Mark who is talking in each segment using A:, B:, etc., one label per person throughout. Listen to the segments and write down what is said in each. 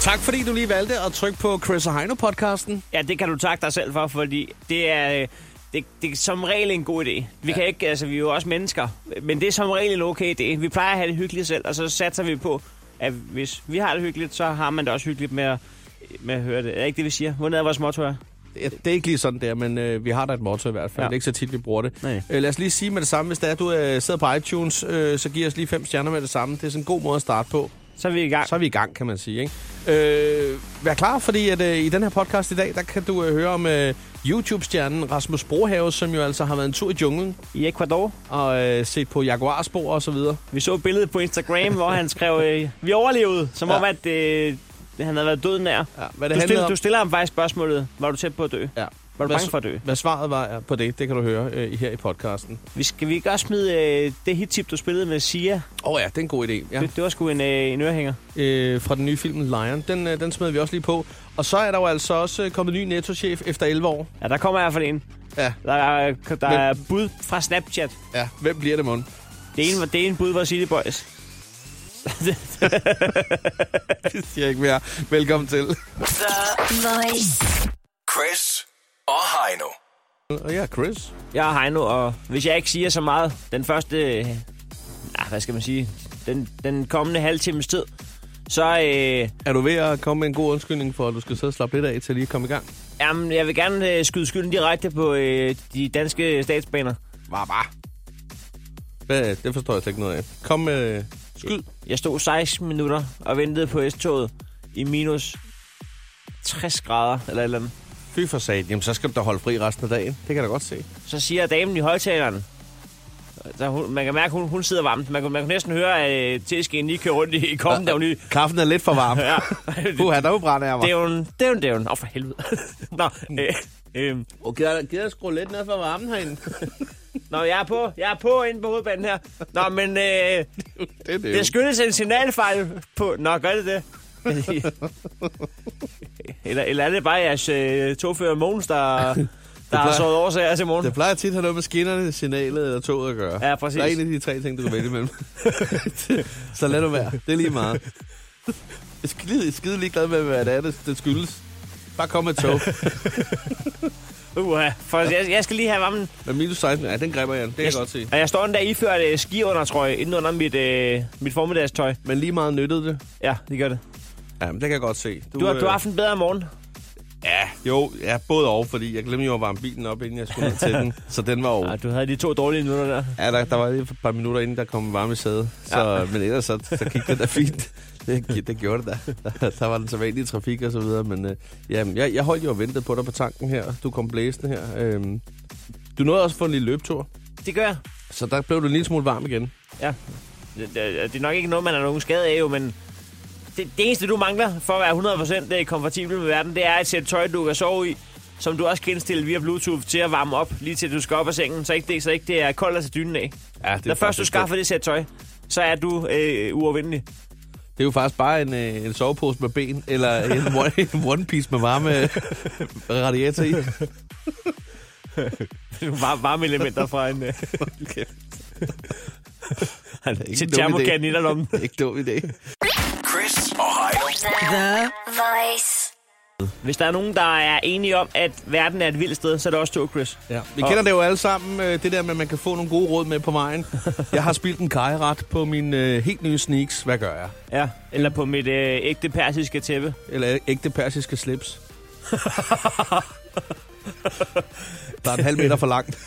A: Tak fordi du lige valgte at trykke på Chris og Heino-podcasten.
B: Ja, det kan du takke dig selv for, fordi det er, øh, det, det er som regel en god idé. Vi ja. kan ikke, altså vi er jo også mennesker, men det er som regel en okay idé. Vi plejer at have det hyggeligt selv, og så satser vi på, at hvis vi har det hyggeligt, så har man det også hyggeligt med at, med at høre det. Er ikke det, vi siger? Hvordan er vores motto er?
A: Ja, Det er ikke lige sådan der, men øh, vi har da et motto i hvert fald. Ja.
B: Ja.
A: Det er ikke så tit, vi bruger det.
B: Nej.
A: Øh, lad os lige sige med det samme, hvis det er, at du øh, sidder på iTunes, øh, så giv os lige fem stjerner med det samme. Det er sådan en god måde at starte på.
B: Så er vi i gang.
A: Så er vi i gang, kan man sige. Ikke? Øh, vær klar, fordi at, øh, i den her podcast i dag, der kan du øh, høre om øh, YouTube-stjernen Rasmus Brohave, som jo altså har været en tur i junglen
B: I Ecuador.
A: og øh, set på jaguarspor og så videre.
B: Vi så billedet på Instagram, hvor han skrev, øh, vi overlevede, som
A: Ja.
B: ja. om at øh, han havde været død nær.
A: Ja, hvad det
B: Du,
A: handlede
B: stiller,
A: om,
B: du stiller ham faktisk spørgsmålet, var du tæt på at dø?
A: ja,
B: Var du
A: Hvad
B: bange
A: så-
B: for at dø?
A: hvad svaret var ja, på det, det kan du høre øh, her i podcasten.
B: Vi skal vi ikke også smide øh, det hittip, du spillede med Sia?
A: Åh oh, ja, det er en god idé. Ja.
B: Ja. Det, det var sgu en, øh, en ørehænger.
A: øh, fra den nye film Lion. Den, øh, den smed vi også lige på. Og så er der jo altså også øh, kommet en ny nettochef efter 11 år.
B: Ja, der kommer i hvert fald en.
A: Ja.
B: Der, er, der
A: Men-
B: er bud fra Snapchat.
A: Ja, hvem bliver det, mon?
B: Det ene, var, det ene bud var City Boys.
A: Det siger jeg ikke mere. Velkommen til.
C: Voice.
D: Chris og Heino.
A: Og ja, Chris.
B: Jeg er Heino, og hvis jeg ikke siger så meget, den første... Øh, ah, hvad skal man sige? Den, den kommende halvtimes tid, så... Øh,
A: Er du ved at komme med en god undskyldning for, at du skal sidde og slappe lidt af til lige at komme i gang?
B: jamen, jeg vil gerne øh, skyde skylden direkte på øh, de danske statsbaner.
A: Var bare. Hvad, det forstår jeg slet ikke noget af. Kom med... Øh, skyd.
B: Jeg stod 16 minutter og ventede på S-toget i minus 60 grader eller et eller andet.
A: Fy for satan. Jamen, så skal du da holde fri resten af dagen. Det kan jeg da godt se.
B: Så siger damen i højtaleren, så hun, man kan mærke, at hun, hun sidder varmt. Man kan, man kan næsten høre, at øh, tæsken lige kører rundt i kommen, da hun lige...
A: Kaffen er lidt for varm.
B: Ja,
A: Puha, der brænder jeg mig.
B: dævn, dævn, dævn. Åh, for helvede. Nå,
A: Mm.
B: øh, øh,
A: Okay, gider jeg skrue lidt ned for varmen herinde?
B: nå, jeg er på, jeg er på inde på hovedbanen her. Nå, men øh,
A: det er det,
B: det skyldes en signalfejl på... Nå, gør det det? eller, eller er det bare jeres øh, togfører Mogens, der, der har
A: plejer-
B: såret årsager til morgen?
A: Det plejer tit at have noget med skinnerne, signalet eller toget at gøre.
B: Ja, præcis.
A: Der er en af de tre ting, du kan vælge imellem. så lad nu være. Det er lige meget. Jeg er skide, jeg er skide ligeglad med, hvad det er, det, det skyldes. Bare kom med et tog.
B: Uha, for jeg, jeg skal lige have varmen.
A: Men minus 16, ja, den griber jeg. an. Det kan jeg
B: Jeg-
A: godt se.
B: Og jeg står endda iført øh, skiundertrøje inden under mit, øh, mit formiddagstøj.
A: Men lige meget nyttede det.
B: Ja, det gør det.
A: Ja, men det kan jeg godt se.
B: Du, har,
A: øh,
B: du har haft en bedre morgen.
A: Ja, jo, ja, både over, fordi jeg glemte jo at varme bilen op, inden jeg skulle ned til den. Så den var over.
B: Ja, du havde de to dårlige minutter der.
A: Ja, der, der var lige et par minutter inden, der kom varme i sædet. Så, ja. Men ellers så, så gik det da fint. Det, gi- det gjorde det da. Der, der var den så vanlige trafik og så videre. Men øh, jamen, jeg, jeg holdt jo og ventede på dig på tanken her. Du kom blæsende her. Øhm, du nåede også at få en lille løbetur.
B: Det gør jeg.
A: Så der blev du en lille smule varm igen.
B: Ja. Det, det, det er nok ikke noget, man har nogen skade af, jo, men det, det eneste, du mangler for at være 100% komfortabel med verden, det er et sæt tøj, du kan sove i, som du også kan indstille via Bluetooth til at varme op, lige til du skal op af sengen, så ikke det, så ikke det er koldt at tage dynen af.
A: Ja, det
B: Når først du
A: faktisk-
B: skaffer det sæt tøj, så er du øh, uovervindelig.
A: Det er jo faktisk bare en, øh, en sovepose med ben, eller en one, en one piece med varme øh, radiator i.
B: Var, varme elementer fra en... Øh,
A: Okay. ikke en
B: til
A: dum idé.
B: termokan i lommen.
A: Ikke dum idé.
D: Chris og Heino.
C: The Voice.
B: Hvis der er nogen, der er enige om, at verden er et vildt sted, så er det også to, Chris.
A: Ja. Vi kender det jo alle sammen, øh, det der med, at man kan få nogle gode råd med på vejen. Jeg har spildt en kajeret på min øh, helt nye sneaks. Hvad gør jeg?
B: Ja. Eller på mit øh, ægte persiske tæppe.
A: Eller ægte persiske slips. Der er en halv meter for langt.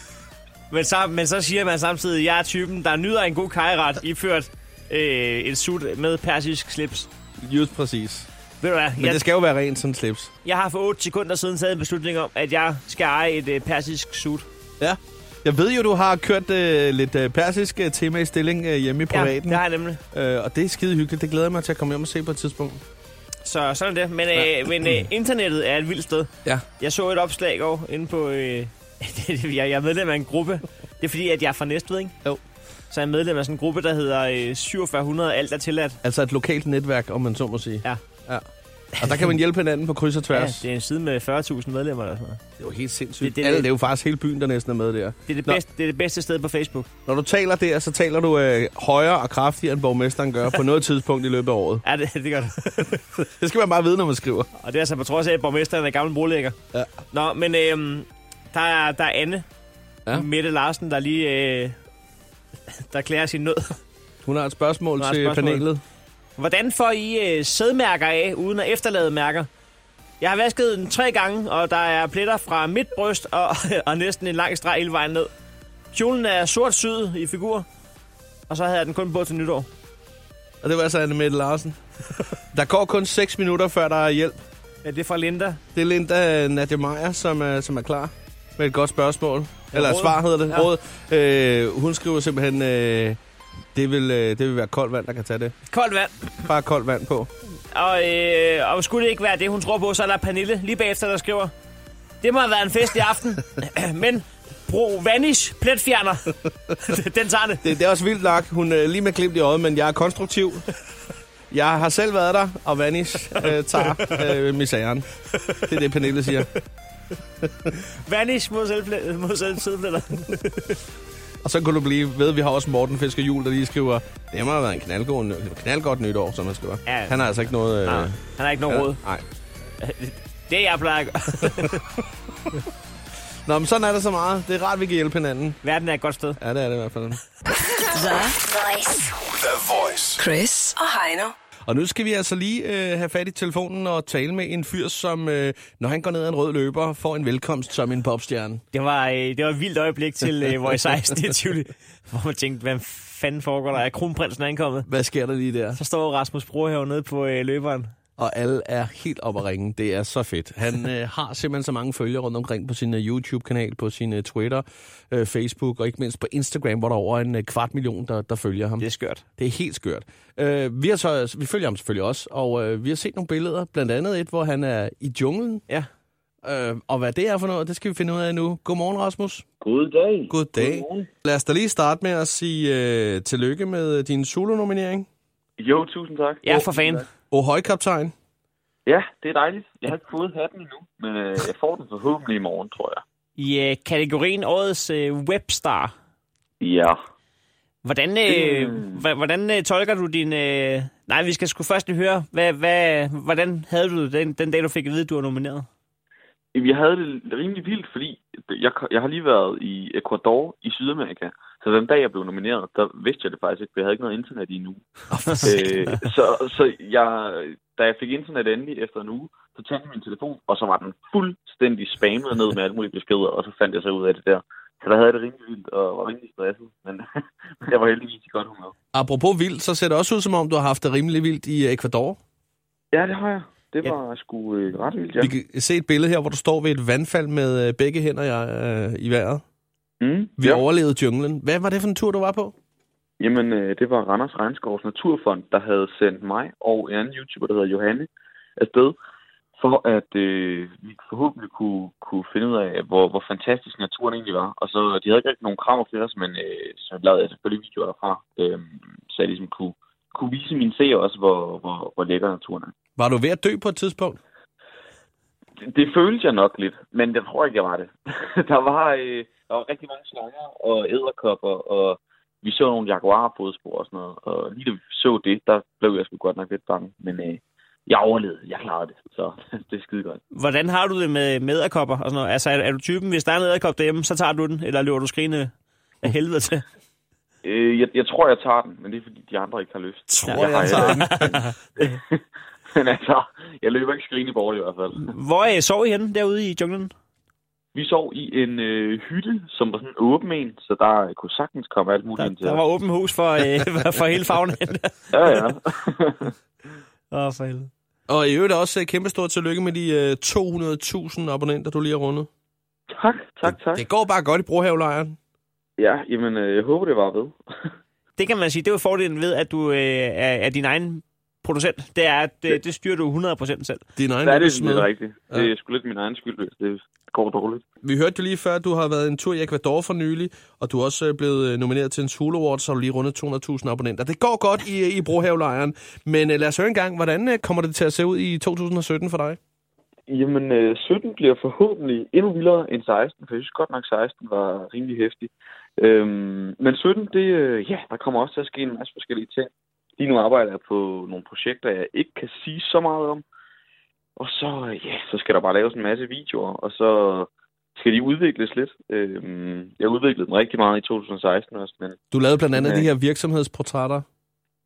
B: Men så, men så siger man samtidig, at jeg er typen, der nyder en god kajret, iført øh, en sut med persisk slips.
A: Just præcis.
B: Ved du hvad,
A: Men
B: jeg,
A: det skal jo være rent sådan en slips.
B: jeg har for 8 sekunder siden taget en beslutning om, at jeg skal eje et øh, persisk sut.
A: Ja. Jeg ved jo, du har kørt øh, lidt øh, persisk øh, tema i stilling øh, hjemme i
B: Ja,
A: privaten.
B: det har jeg nemlig.
A: øh, og det er skide hyggeligt. Det glæder jeg mig til at komme hjem og se på et tidspunkt.
B: Så sådan er det. Men, øh, men øh, internettet er et vildt sted.
A: Ja.
B: Jeg så et opslag i går inde på... Øh, jeg, jeg er medlem af en gruppe. Det er fordi, at jeg er fra Næstved, ikke?
A: Jo.
B: Så er jeg medlem af sådan en gruppe, der hedder øh, 4700 Alt er tilladt.
A: Altså et lokalt netværk, om man så må sige.
B: Ja.
A: ja. Og der kan man hjælpe hinanden på kryds og
B: Ja,
A: tværs.
B: det er en side med 40.000 medlemmer eller sådan noget.
A: Det er jo helt sindssygt. Det,
B: Det- det-
A: det, Alle, det er jo faktisk hele byen, der næsten er med der.
B: Det er det,
A: Nå.
B: bedste, det er det bedste sted på Facebook.
A: Når du taler der, så taler du øh, højere og kraftigere, end borgmesteren gør på noget tidspunkt i løbet af året.
B: Ja, det, det gør det.
A: Det skal man bare vide, når man skriver.
B: Og det er altså på trods af, at borgmesteren er gammel brolægger.
A: Ja.
B: Nå, men øhm, der, er, der er Anne. Ja.
A: Ja.
B: Mette Larsen, der lige... Øh, der klæder sin nød.
A: Hun har et spørgsmål
B: Hun har et
A: til
B: spørgsmål.
A: panelet.
B: Hvordan får I øh, sædmærker af, uden at efterlade mærker? Jeg har vasket den tre gange, og der er pletter fra mit bryst og, og næsten en lang streg hele vejen ned. Kjolen er sort syd i figur, og så havde jeg den kun på til nytår.
A: Og det var altså Anne Mette Larsen. Der går kun 6 minutter, før der er hjælp.
B: Ja, det er fra Linda.
A: Det er Linda Nadia Meyer, som er, som er klar med et godt spørgsmål. Eller
B: råd.
A: råd. svar hedder det.
B: Ja.
A: Ja. Råd. Øh, hun skriver simpelthen, øh, det, vil, øh, det vil være koldt vand, der kan tage det.
B: Koldt vand.
A: Bare koldt vand på.
B: Og, øh, og skulle det ikke være det, hun tror på, så er der Pernille lige bagefter, der skriver, det må have været en fest i aften, men brug vanish pletfjerner. den tager det.
A: Det, det er også vildt nok. Hun er lige med glimt i øjet, men jeg er konstruktiv. Jeg har selv været der, og Vanish øh, tager øh, misæren. Det er det, Pernille siger.
B: Vanish mod selvplæ- mod selvplætter.
A: Og så kunne du blive ved, vi har også Morten Fisker Jul, der lige skriver, det må have været en knaldgod, ny- knaldgodt nytår, som han skriver.
B: Ja.
A: Ja. Han har altså ikke noget... Øh,
B: Nej, han har ikke
A: ja,
B: nogen råd.
A: Nej.
B: Det jeg plejer at gøre.
A: Nå, men sådan er der så meget. Det er rart, vi kan hjælpe hinanden.
B: Verden er et godt sted.
A: Ja, det er det i hvert fald.
E: The
C: Voice.
D: The Voice.
E: Chris og Heino.
A: Og nu skal vi altså lige øh, have fat i telefonen og tale med en fyr, som, øh, når han går ned ad en rød løber, får en velkomst som en popstjerne.
B: Det var, øh, det var et vildt øjeblik til øh, Voice 16 i Tivoli, hvor man tænkte, hvad fanden foregår der? Er kronprinsen ankommet?
A: Hvad sker der lige der?
B: Så står Rasmus Brohave nede på øh, løberen.
A: og alle er helt op at ringe. Det er så fedt. Han øh, har simpelthen så mange følgere rundt omkring på sin øh, YouTube-kanal, på sin øh, Twitter, øh, Facebook og ikke mindst på Instagram, hvor der er over en øh, kvart million, der, der følger ham.
B: Det er skørt.
A: Det er helt skørt. Øh, vi, har så, vi følger ham selvfølgelig også, og øh, vi har set nogle billeder, blandt andet et, hvor han er i junglen.
B: Ja.
A: Øh, og hvad det er for noget, det skal vi finde ud af nu. Godmorgen, Rasmus.
F: God dag.
A: God dag. Lad os da lige starte med at sige øh, tillykke med øh, din solonominering.
F: Jo, tusind tak.
B: Ja, for fanden.
A: Og højkaptajn.
F: Ja, det er dejligt. Jeg har ikke fået hatten endnu, men øh, jeg får den forhåbentlig i morgen, tror jeg.
B: I øh, kategorien Årets øh, Webstar.
F: Ja.
B: Hvordan, øh,
F: Mm.
B: hva- hvordan øh, tolker du din... Øh... Nej, vi skal sgu først lige høre, hvad, hvad, hvordan havde du det den, den dag, du fik at vide, at du var nomineret?
F: Jamen, Jeg havde det rimelig vildt, fordi jeg, jeg har lige været i Ecuador i Sydamerika. Så den dag, jeg blev nomineret, der vidste jeg det faktisk ikke, for jeg havde ikke noget internet i en uge. Øh, så så jeg, da jeg fik internet endelig efter en uge, så tændte jeg min telefon, og så var den fuldstændig spammet ned med alle mulige beskeder, og så fandt jeg så ud af det der. Så der havde jeg det rimelig vildt, og var rimelig stresset, men jeg var heldigvis i godt humør.
A: Apropos vildt, så ser det også ud, som om du har haft det rimelig vildt i øh, Ecuador.
F: Ja, det har jeg. Det
B: Ja.
F: var ja. sgu øh, ret vildt, ja.
A: Vi kan se et billede her, hvor du står ved et vandfald med øh, begge hænder i, øh, i vejret.
F: Mm,
A: Vi
F: ja.
A: ja. overlevede junglen. Hvad var det for en tur, du var på?
F: Jamen, øh, det var Randers Regnskovs Naturfond, der havde sendt mig og en anden YouTuber, der hedder Johanne, afsted, for at øh, vi forhåbentlig kunne, kunne finde ud af, hvor, hvor fantastisk naturen egentlig var. Og så, de havde ikke rigtig nogen krav til os, men øh, så lavede jeg selvfølgelig videoer derfra, øh, så jeg ligesom kunne, kunne vise mine seere også, hvor, hvor, hvor lækker naturen er.
A: Var du ved at dø på et tidspunkt?
F: Det, det følte jeg nok lidt, men jeg tror ikke, jeg var det. der, var, øh, der var rigtig mange slanger og æderkopper, og vi så nogle jaguar-fodspor og sådan noget. Og lige da vi så det, der blev jeg sgu godt nok lidt bange. Men øh, jeg overlevede. Jeg klarede det. Så det er skide godt.
B: Hvordan har du det med medderkopper og sådan noget? Altså, er, er du typen, hvis der er en æderkop derhjemme, så tager du den, eller løber du skrigende af helvede til?
F: Øh, jeg, jeg tror, jeg tager den, men det er fordi, de andre ikke har lyst.
A: Tror jeg
F: har-
A: tager den.
F: men altså, jeg løber ikke skrigende bort i hvert fald.
B: Hvor øh, sov I henne derude i junglen?
F: Vi sov i en øh, hytte, som var sådan en åben en, så der kunne sagtens komme alt muligt
B: Der,
F: ind til
B: der
F: os.
B: var åben hus for, øh, for hele fagnen.
F: Ja, ja.
B: Åh, oh, for helvede.
A: Og i øvrigt også øh, kæmpe stort tillykke med de øh, 200.000 abonnenter, du lige har rundet.
F: tak, tak, tak.
A: Det går bare godt i brohavelejren.
F: Ja, jamen, øh, jeg håber, det var ved.
B: Det kan man sige, det er jo fordelen ved, at du øh, er, er din egen producent. Det er, at øh, det, det styrer du 100% selv.
A: Din egen
F: Der er det
A: smed.
F: lidt rigtigt. Det er sgu lidt min egen skyld, hvis det går dårligt.
A: Vi hørte jo lige før, at du har været en tur i Ecuador for nylig, og du er også øh, blevet øh, nomineret til en Zulu Award, så har du lige rundet 200.000 abonnenter. Det går godt i, øh, i brohavelejren, men øh, lad os høre en gang, hvordan øh, kommer det til at se ud i 2017 for dig?
F: Jamen, øh, 17 bliver forhåbentlig endnu vildere end 16, for jeg synes godt nok, 16 var rimelig hæftig. Øhm, men 17, det, øh, ja, der kommer også til at ske en masse forskellige ting. Lige nu arbejder jeg på nogle projekter, jeg ikke kan sige så meget om. Og så, øh, ja, så skal der bare laves en masse videoer, og så skal de udvikles lidt. Øhm, jeg udviklede dem rigtig meget i 2016 også, men
A: Du lavede blandt andet
F: Ja.
A: de her virksomhedsportrætter.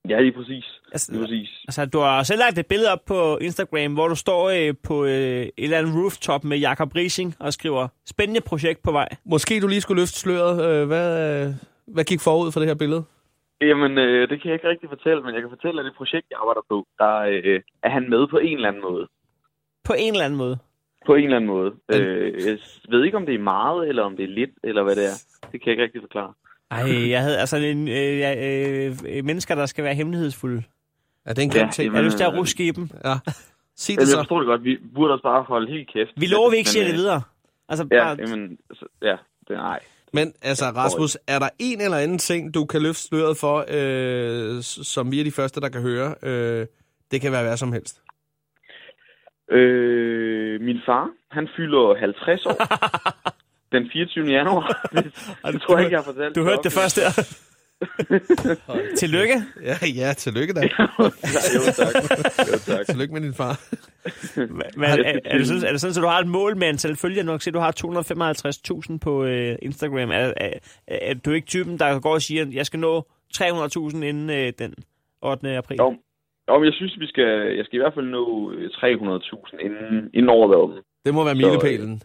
F: ja, lige præcis.
B: Altså,
F: Lige præcis.
B: Altså, du har selv lagt et billede op på Instagram, hvor du står øh, på øh, et eller andet rooftop med Jakob Rising og skriver, spændende projekt på vej.
A: Måske du lige skulle løfte sløret. Øh, hvad, øh, hvad gik forud for det her billede?
F: Jamen, øh, det kan jeg ikke rigtig fortælle, men jeg kan fortælle, at det projekt, jeg arbejder på, der øh, er han med på en eller anden måde.
B: På en eller anden måde.
F: På en eller anden måde.
A: Men-
F: Øh, jeg ved ikke, om det er meget, eller om det er lidt, eller hvad det er. Det kan jeg ikke rigtig forklare.
B: Ej, jeg havde altså en, øh, jeg, øh, øh, mennesker, der skal være hemmelighedsfulde.
A: Er det en grim
F: Ja,
A: ting?
B: Jeg har
F: jamen-
B: lyst til at ruske i dem.
A: Ja. Sig det
F: Jamen, jeg
A: så.
F: forstår det godt. Vi burde også bare holde helt kæft.
B: Vi lover, vi ikke
F: Men,
B: siger det
F: øh,
B: videre. Altså,
F: Ja,
B: bare,
F: jamen, så, ja, det er nej.
A: Men altså, Rasmus, er der en eller anden ting, du kan løfte sløret for, øh, s- som vi er de første, der kan høre? Øh, det kan være hvad som helst.
F: Øh, min far, han fylder 50 år. den 24. januar. Det, det tror jeg ikke, jeg har fortalt.
B: du hørte det først der. Tillykke.
A: Ja, ja, tillykke da.
F: Ja, jo, tak. Jo, tak.
A: Tillykke med din far.
B: Men, er, er, er, det sådan, er det sådan, at du har et mål med antal følgere nok? Se, du har 255.000 på øh, Instagram. Er, er, er du ikke typen, der går og siger, at jeg skal nå 300.000 inden øh, den 8. april?
F: Jo. Jo, men jeg synes, vi skal, jeg skal i hvert fald nå øh, 300.000 inden, inden året er omme.
A: Det må være
F: Så, øh,
A: milepælen.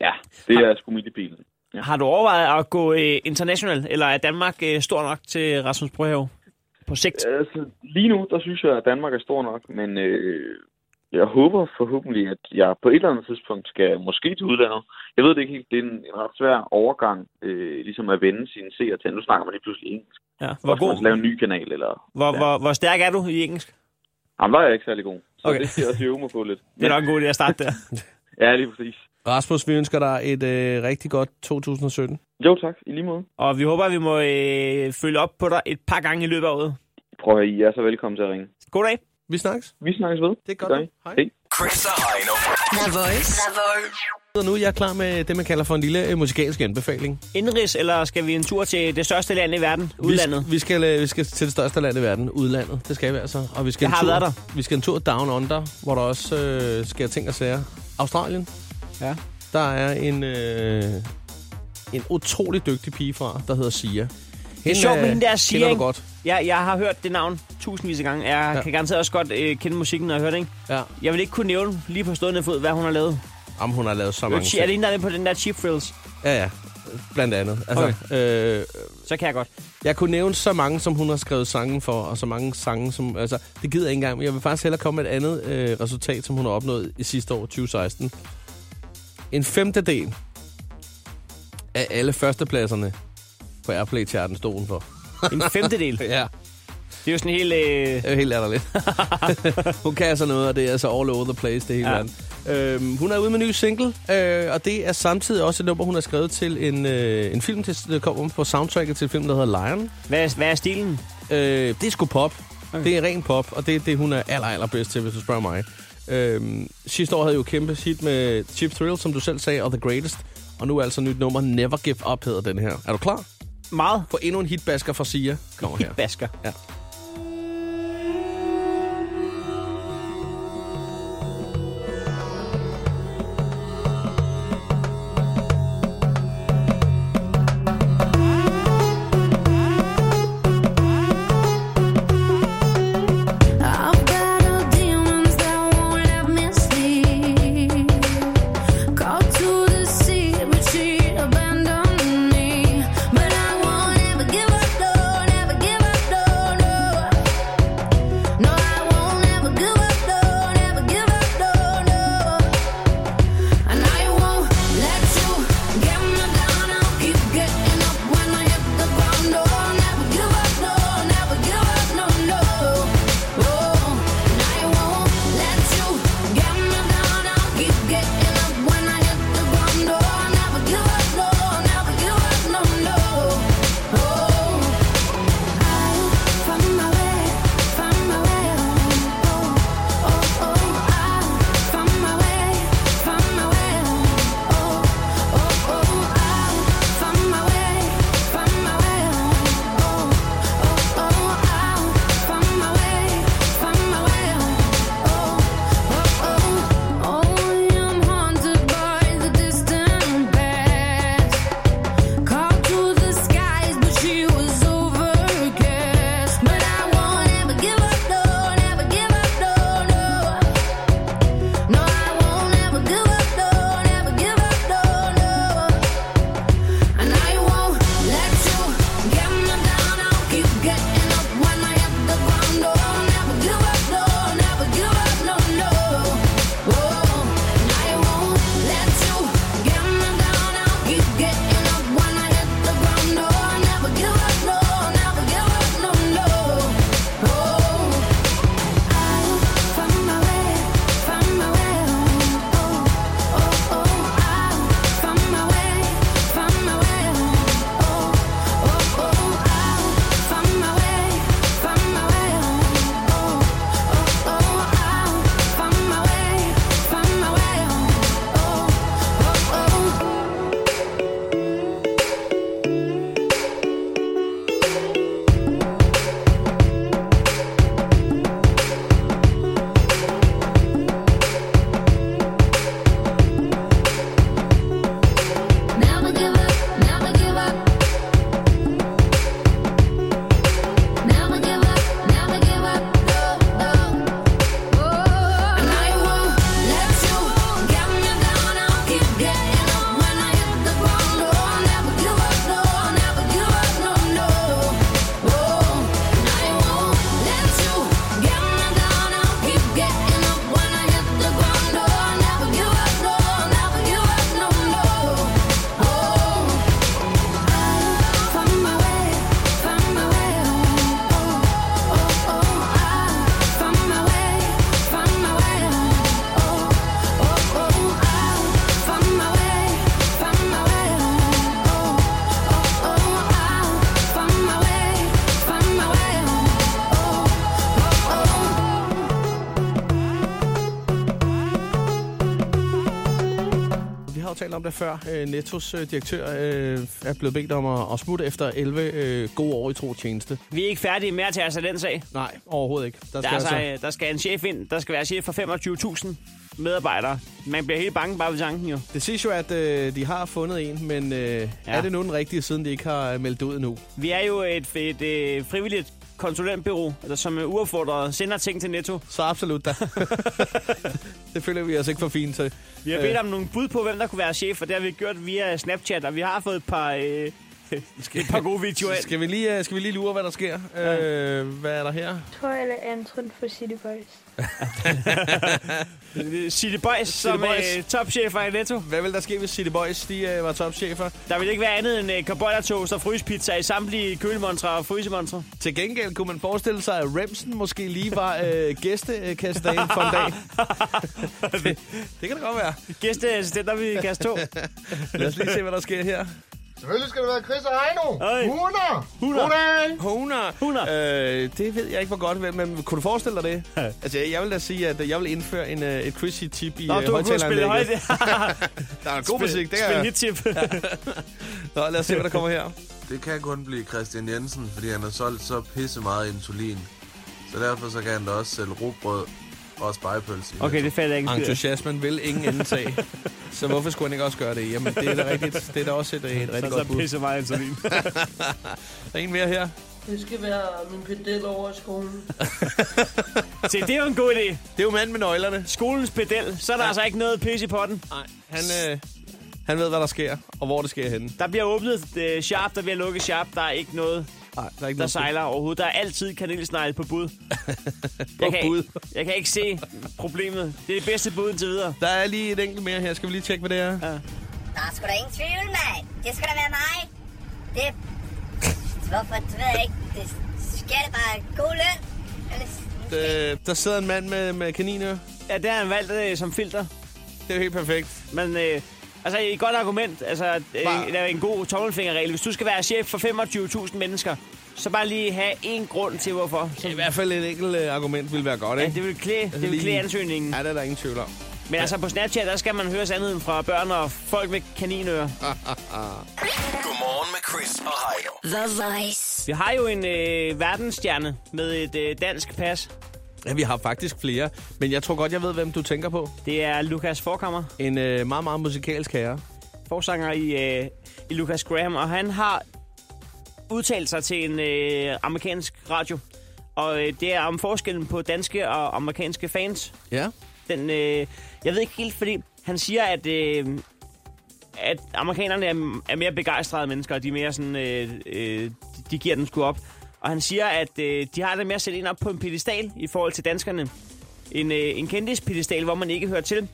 F: Ja, det er sgu midt i bilen.
B: Har du overvejet at gå øh, international, eller er Danmark øh, stor nok til Rasmus Brøhave på sigt?
F: Altså, lige nu, der synes jeg, at Danmark er stor nok, men øh, jeg håber forhåbentlig, at jeg på et eller andet tidspunkt skal måske til udlandet. Jeg ved det ikke helt, det er en, en ret svær overgang, øh, ligesom at vende sine seere til. Nu snakker man lige pludselig engelsk.
B: Ja.
F: Hvor
B: Hvor,
F: god? Man skal
B: god,
F: lave en ny kanal, eller...
B: hvor, hvor, hvor stærk er du i engelsk?
F: Jamen, der er jeg ikke særlig god. Så
B: Okay.
F: okay. det skal jeg også øve mig på lidt.
B: Det er nok en god idé at starte der.
F: Ja, lige præcis.
A: Rasmus, vi ønsker dig et øh, rigtig godt 2017.
F: Jo, tak. I lige måde.
B: Og vi håber, at vi må øh, følge op på dig et par gange i løbet af året.
F: Prøv at høre, I er så velkommen til at ringe.
B: God dag.
A: Vi snakkes.
F: Vi snakkes ved.
A: Det er godt.
F: gør I.
A: Hej.
F: Hej.
D: Chris og Heino.
E: The Voice.
C: The Voice.
A: Og nu er jeg klar med det, man kalder for en lille øh, musikalsk anbefaling.
B: Indrigs, eller skal vi en tur til det største land i verden, udlandet?
A: Vi, vi, skal, øh, vi skal til det største land i verden, udlandet. Det skal vi altså. Og vi skal
B: Jeg
A: en
B: har
A: tur,
B: været der.
A: Vi skal en tur down under, hvor der også øh, sker ting og sager. Australien.
B: Ja.
A: Der er en, øh, en utrolig dygtig pige fra, der hedder Sia. Hende, det
B: er sjovt med hende der Sia,
A: Kender du
B: ikke?
A: godt.
B: Jeg, jeg har hørt det navn tusindvis af gange. Jeg
A: Ja.
B: ja. kan garanteret også godt øh, kende musikken, når jeg hører det, ikke?
A: Ja.
B: Jeg vil ikke kunne nævne lige på stående fod, hvad hun har lavet. Øh,
A: Jamen, hun har lavet så
B: Er
A: mange
B: det hende,
A: ting.
B: der er med på den der Cheap Thrills?
A: Ja, ja. Blandt andet. Altså, okay. øh,
B: Så kan jeg godt.
A: Jeg kunne nævne så mange, som hun har skrevet sangen for, og så mange sange, som... Altså, det gider jeg ikke engang, men jeg vil faktisk hellere komme med et andet øh, resultat, som hun har opnået i sidste år, 2016. En femtedel af alle førstepladserne på Airplay-charten stod hun for.
B: En femtedel.
A: Ja,
B: Det er jo sådan helt... Øh,
A: det er jo helt latterligt. hun kan altså noget, og det er altså all over the place, det hele
B: Ja.
A: ja. verden. Øhm, hun er ude med en ny single, øh, og det er samtidig også et nummer, hun har skrevet til en, øh, en film, der kommer på soundtracket til filmen, der hedder Lion.
B: hvad, er- hvad er stilen?
A: Øh, det er sgu pop. Okay. Det er ren pop, og det er det, hun er aller, aller bedst til, hvis du spørger mig. Øhm, sidste år havde jeg jo kæmpe hit med Chip Thrill, som du selv sagde, og The Greatest. Og nu er altså nyt nummer Never Give Up hedder den her. Er du klar?
B: Meget
A: På endnu en hitbasker fra Sia. Kommer her.
B: basker.
G: I've got a demons that won't let me sleep. Called to the sea, but she abandoned me. But I won't ever give up, no, never give up, no, no. Oh, Oh. Oh, Oh. Oh, Oh,
A: jo talt om det før. Øh, Nettos øh, direktør øh, er blevet bedt om at, at smutte efter 11 øh, gode år i tro tjeneste.
B: Vi er ikke færdige med at tage os af den sag.
A: Nej, overhovedet ikke. Der
B: Der,
A: skal
B: er altså,
A: altså,
B: øh, der skal en chef ind. Der skal være chef for 25.000 medarbejdere. Man bliver helt bange bare ved tanken jo.
A: det siges jo, at øh, de har fundet en, men øh, ja. er det nu den rigtige, siden de ikke har øh, meldt ud endnu?
B: Vi er jo et, et, et frivilligt konsulentbyrå, der som øh, uopfordret sender ting til Netto.
A: Så absolut da. det føler vi os ikke for fint til.
B: Vi har bedt om nogle bud på, hvem der kunne være chef, og det har vi gjort via Snapchat, og vi har fået et par, øh, et par gode videoer ind.
A: Skal vi lige, øh, skal vi lige lure, hvad der sker? Ja. Øh, hvad er der her?
H: Troy eller Anton fra City Boys.
B: City Boys, som
A: Boys.
B: øh, topchefer i Netto.
A: Hvad vil der ske, hvis City Boys de, øh, var topchefer?
B: Der vil ikke være andet end øh, carbonatoast og frysepizza i samtlige kølemontre og frysemontre.
A: Til gengæld kunne man forestille sig, at Remsen måske lige var øh, gæstekastanien for en dag. det, det kan det godt være.
B: Gæsteassistenter vi kaste to.
A: Lad os lige se, hvad der sker her.
I: Selvfølgelig skal det være Chris og Heino.
B: Øj.
I: 100!
B: 100.
A: Huner.
B: Huner.
A: Øh, det ved jeg ikke, hvor godt, men- men kunne du forestille dig det? altså, jeg vil da sige, at jeg vil indføre en, øh, et Chrissy tip i
B: Nå,
A: øh,
B: du har kunnet spille højt.
A: højtaleranlægget. Der er god musik, det
B: Spil
A: er...
B: hit-tip.
A: Nå, lad os se, hvad der kommer her.
J: Det kan kun blive Christian Jensen, fordi han har solgt så pisse meget insulin. Så derfor så kan han da også sælge rugbrød og spejepølse.
B: Okay, det falder ikke. en skid af.
A: Entusiasmen vil ingen ende tage. Så hvorfor skulle han ikke også gøre det? Jamen, det er da rigtigt. Det er da også et, et
B: Så
A: rigtig
B: så
A: godt bud.
B: pisse meget insulin.
A: Der er en mere her.
I: Det skal være min pedel over i skolen.
B: Se, det er jo en god idé.
A: Det er jo manden med nøglerne.
B: Skolens pedel, så er der altså ikke noget pisse i potten.
A: Nej, han, øh, han ved, hvad der sker, og hvor det sker henne.
B: Der bliver åbnet øh, sharp, der bliver lukket sharp. Der er ikke noget,
A: Nej, der er ikke
B: der
A: noget.
B: sejler overhovedet. Der er altid kanelsnegle på bud.
A: På
B: jeg, kan,
A: bud.
B: jeg kan ikke se problemet. Det er det bedste bud indtil videre.
A: Der er lige et enkelt mere her. Skal vi lige tjekke, hvad det er?
C: Der er sgu da ingen tvivl, mand. Det skal da være mig. Det... Hvorfor? Det ved jeg ikke. Det skal det bare god løn. Ellers...
A: Øh, der sidder en mand med, med kaniner.
B: Ja, det har han valgt øh, som filter.
A: Det er jo helt perfekt.
B: Men øh, altså, et godt argument. Altså, øh,
A: Bare-
B: der er en god tommelfingerregel. Hvis du skal være chef for 25.000 mennesker, så bare lige have en grund til, hvorfor. Så,
A: I hvert fald et enkelt øh, argument ville være godt,
B: ja,
A: ikke?
B: det vil klæde, det vil
A: lige-
B: klæde ansøgningen.
A: Ja, det er der ingen tvivl om.
B: Men altså, på Snapchat, der skal man høre sandheden fra børn og folk med kaninører.
D: Godmorgen med Chris og Heino.
C: The Voice.
B: Vi har jo en øh, verdensstjerne med et øh, dansk pas.
A: Ja, vi har faktisk flere, men jeg tror godt, jeg ved, hvem du tænker på.
B: Det er Lukas Forkammer,
A: En øh, meget, meget musikalsk herre.
B: forsanger i, øh, i Lucas Graham, og han har udtalt sig til en øh, amerikansk radio. Og øh, det er om forskellen på danske og amerikanske fans.
A: Ja.
B: Den, øh, jeg ved ikke helt, fordi han siger, at, øh, at amerikanerne er, er mere begejstrede mennesker, og de er mere sådan, øh, øh, de giver den sgu op. Og han siger, at øh, de har det med at sætte en op på en pedestal i forhold til danskerne. En, øh, en kendispedestal, hvor man ikke hører til.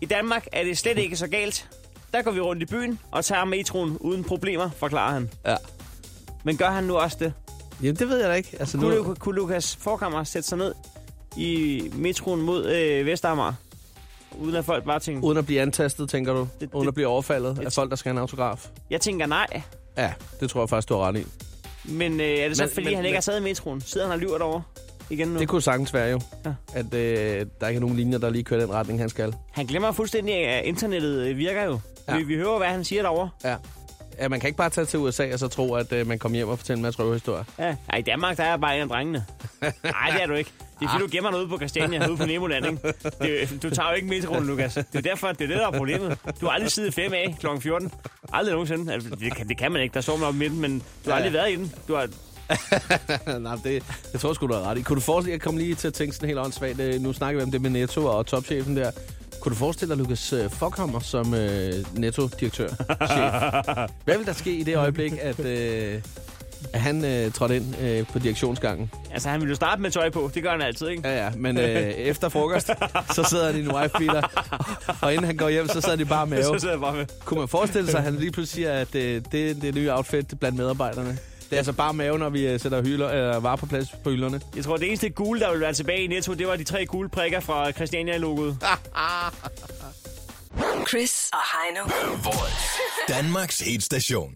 B: I Danmark er det slet ikke så galt. Der går vi rundt i byen og tager metroen uden problemer, forklarer han.
A: Ja.
B: Men gør han nu også det?
A: Jamen, det ved jeg da ikke. Altså,
B: Kunne, Lu- kunne Lukas Forkammer sætte sig ned i metroen mod øh, Vestamager? Uden at folk bare tænker...
A: Uden at blive antastet, tænker du?
B: Det-
A: Uden
B: det-
A: at blive overfaldet
B: det-
A: af folk, der skal have en autograf?
B: Jeg tænker nej,
A: Ja, det tror jeg faktisk, du har ret i.
B: men øh, er det så
A: Men-
B: men,
A: men-
B: fordi, men, han ikke
A: men-
B: har taget i metroen? Sidder han og lyver derovre igen nu?
A: Det kunne sagtens være jo,
B: Ja.
A: ja. at øh, der ikke er nogen linjer, der lige kører den retning, han skal.
B: Han glemmer fuldstændig, at internettet øh, virker jo. Ja.
A: Ja.
B: Vi, vi hører, hvad han siger derovre.
A: Ja. ja man kan ikke bare tage til USA og så tro, at øh, man kommer hjem og fortæller en masse røvehistorier.
B: Ja. Ej, i Danmark, der er jeg bare en af drengene. Nej, det er du ikke. Det er fordi, du gemmer dig ude på Christiania, ude på Nemoland, ikke? Det, du tager jo ikke metroen, Lukas. Det er derfor, det er det, der er problemet. Du har aldrig siddet 5 af kl. 14. Aldrig nogensinde. Altså, Det kan, det kan man ikke, der står man oppe i midten, men du har aldrig været i den. Du har,
A: Nej, det, jeg tror sgu, du har ret i. Kunne du forestille jeg kom lige til at tænke sådan helt åndssvagt, øh, nu snakker vi om det med Netto og topchefen der. Kunne du forestille dig Lukas øh, Fockhammer som øh, Netto-direktør? chef? Hvad ville der ske i det øjeblik, at, øh, at han øh, trådte ind øh, på direktionsgangen?
B: altså, han vil jo starte med tøj på. Det gør han altid, ikke?
A: Ja, ja, men øh, efter frokost, så sidder han i en wife-beater, og inden han går hjem, så sidder de bare mave.
B: Så sidder jeg bare med.
A: Kunne man forestille sig, at han lige pludselig siger, at øh, det er det nye outfit blandt medarbejderne? Det er altså bare mave, når vi øh, sætter hylder, eller varer på plads på hylderne.
B: Jeg tror, det eneste gule, der vil være tilbage i Netto, det var de tre gule prikker fra Christiania-logoet.
E: Chris og Heino.
D: The Voice. Danmarks hitstation.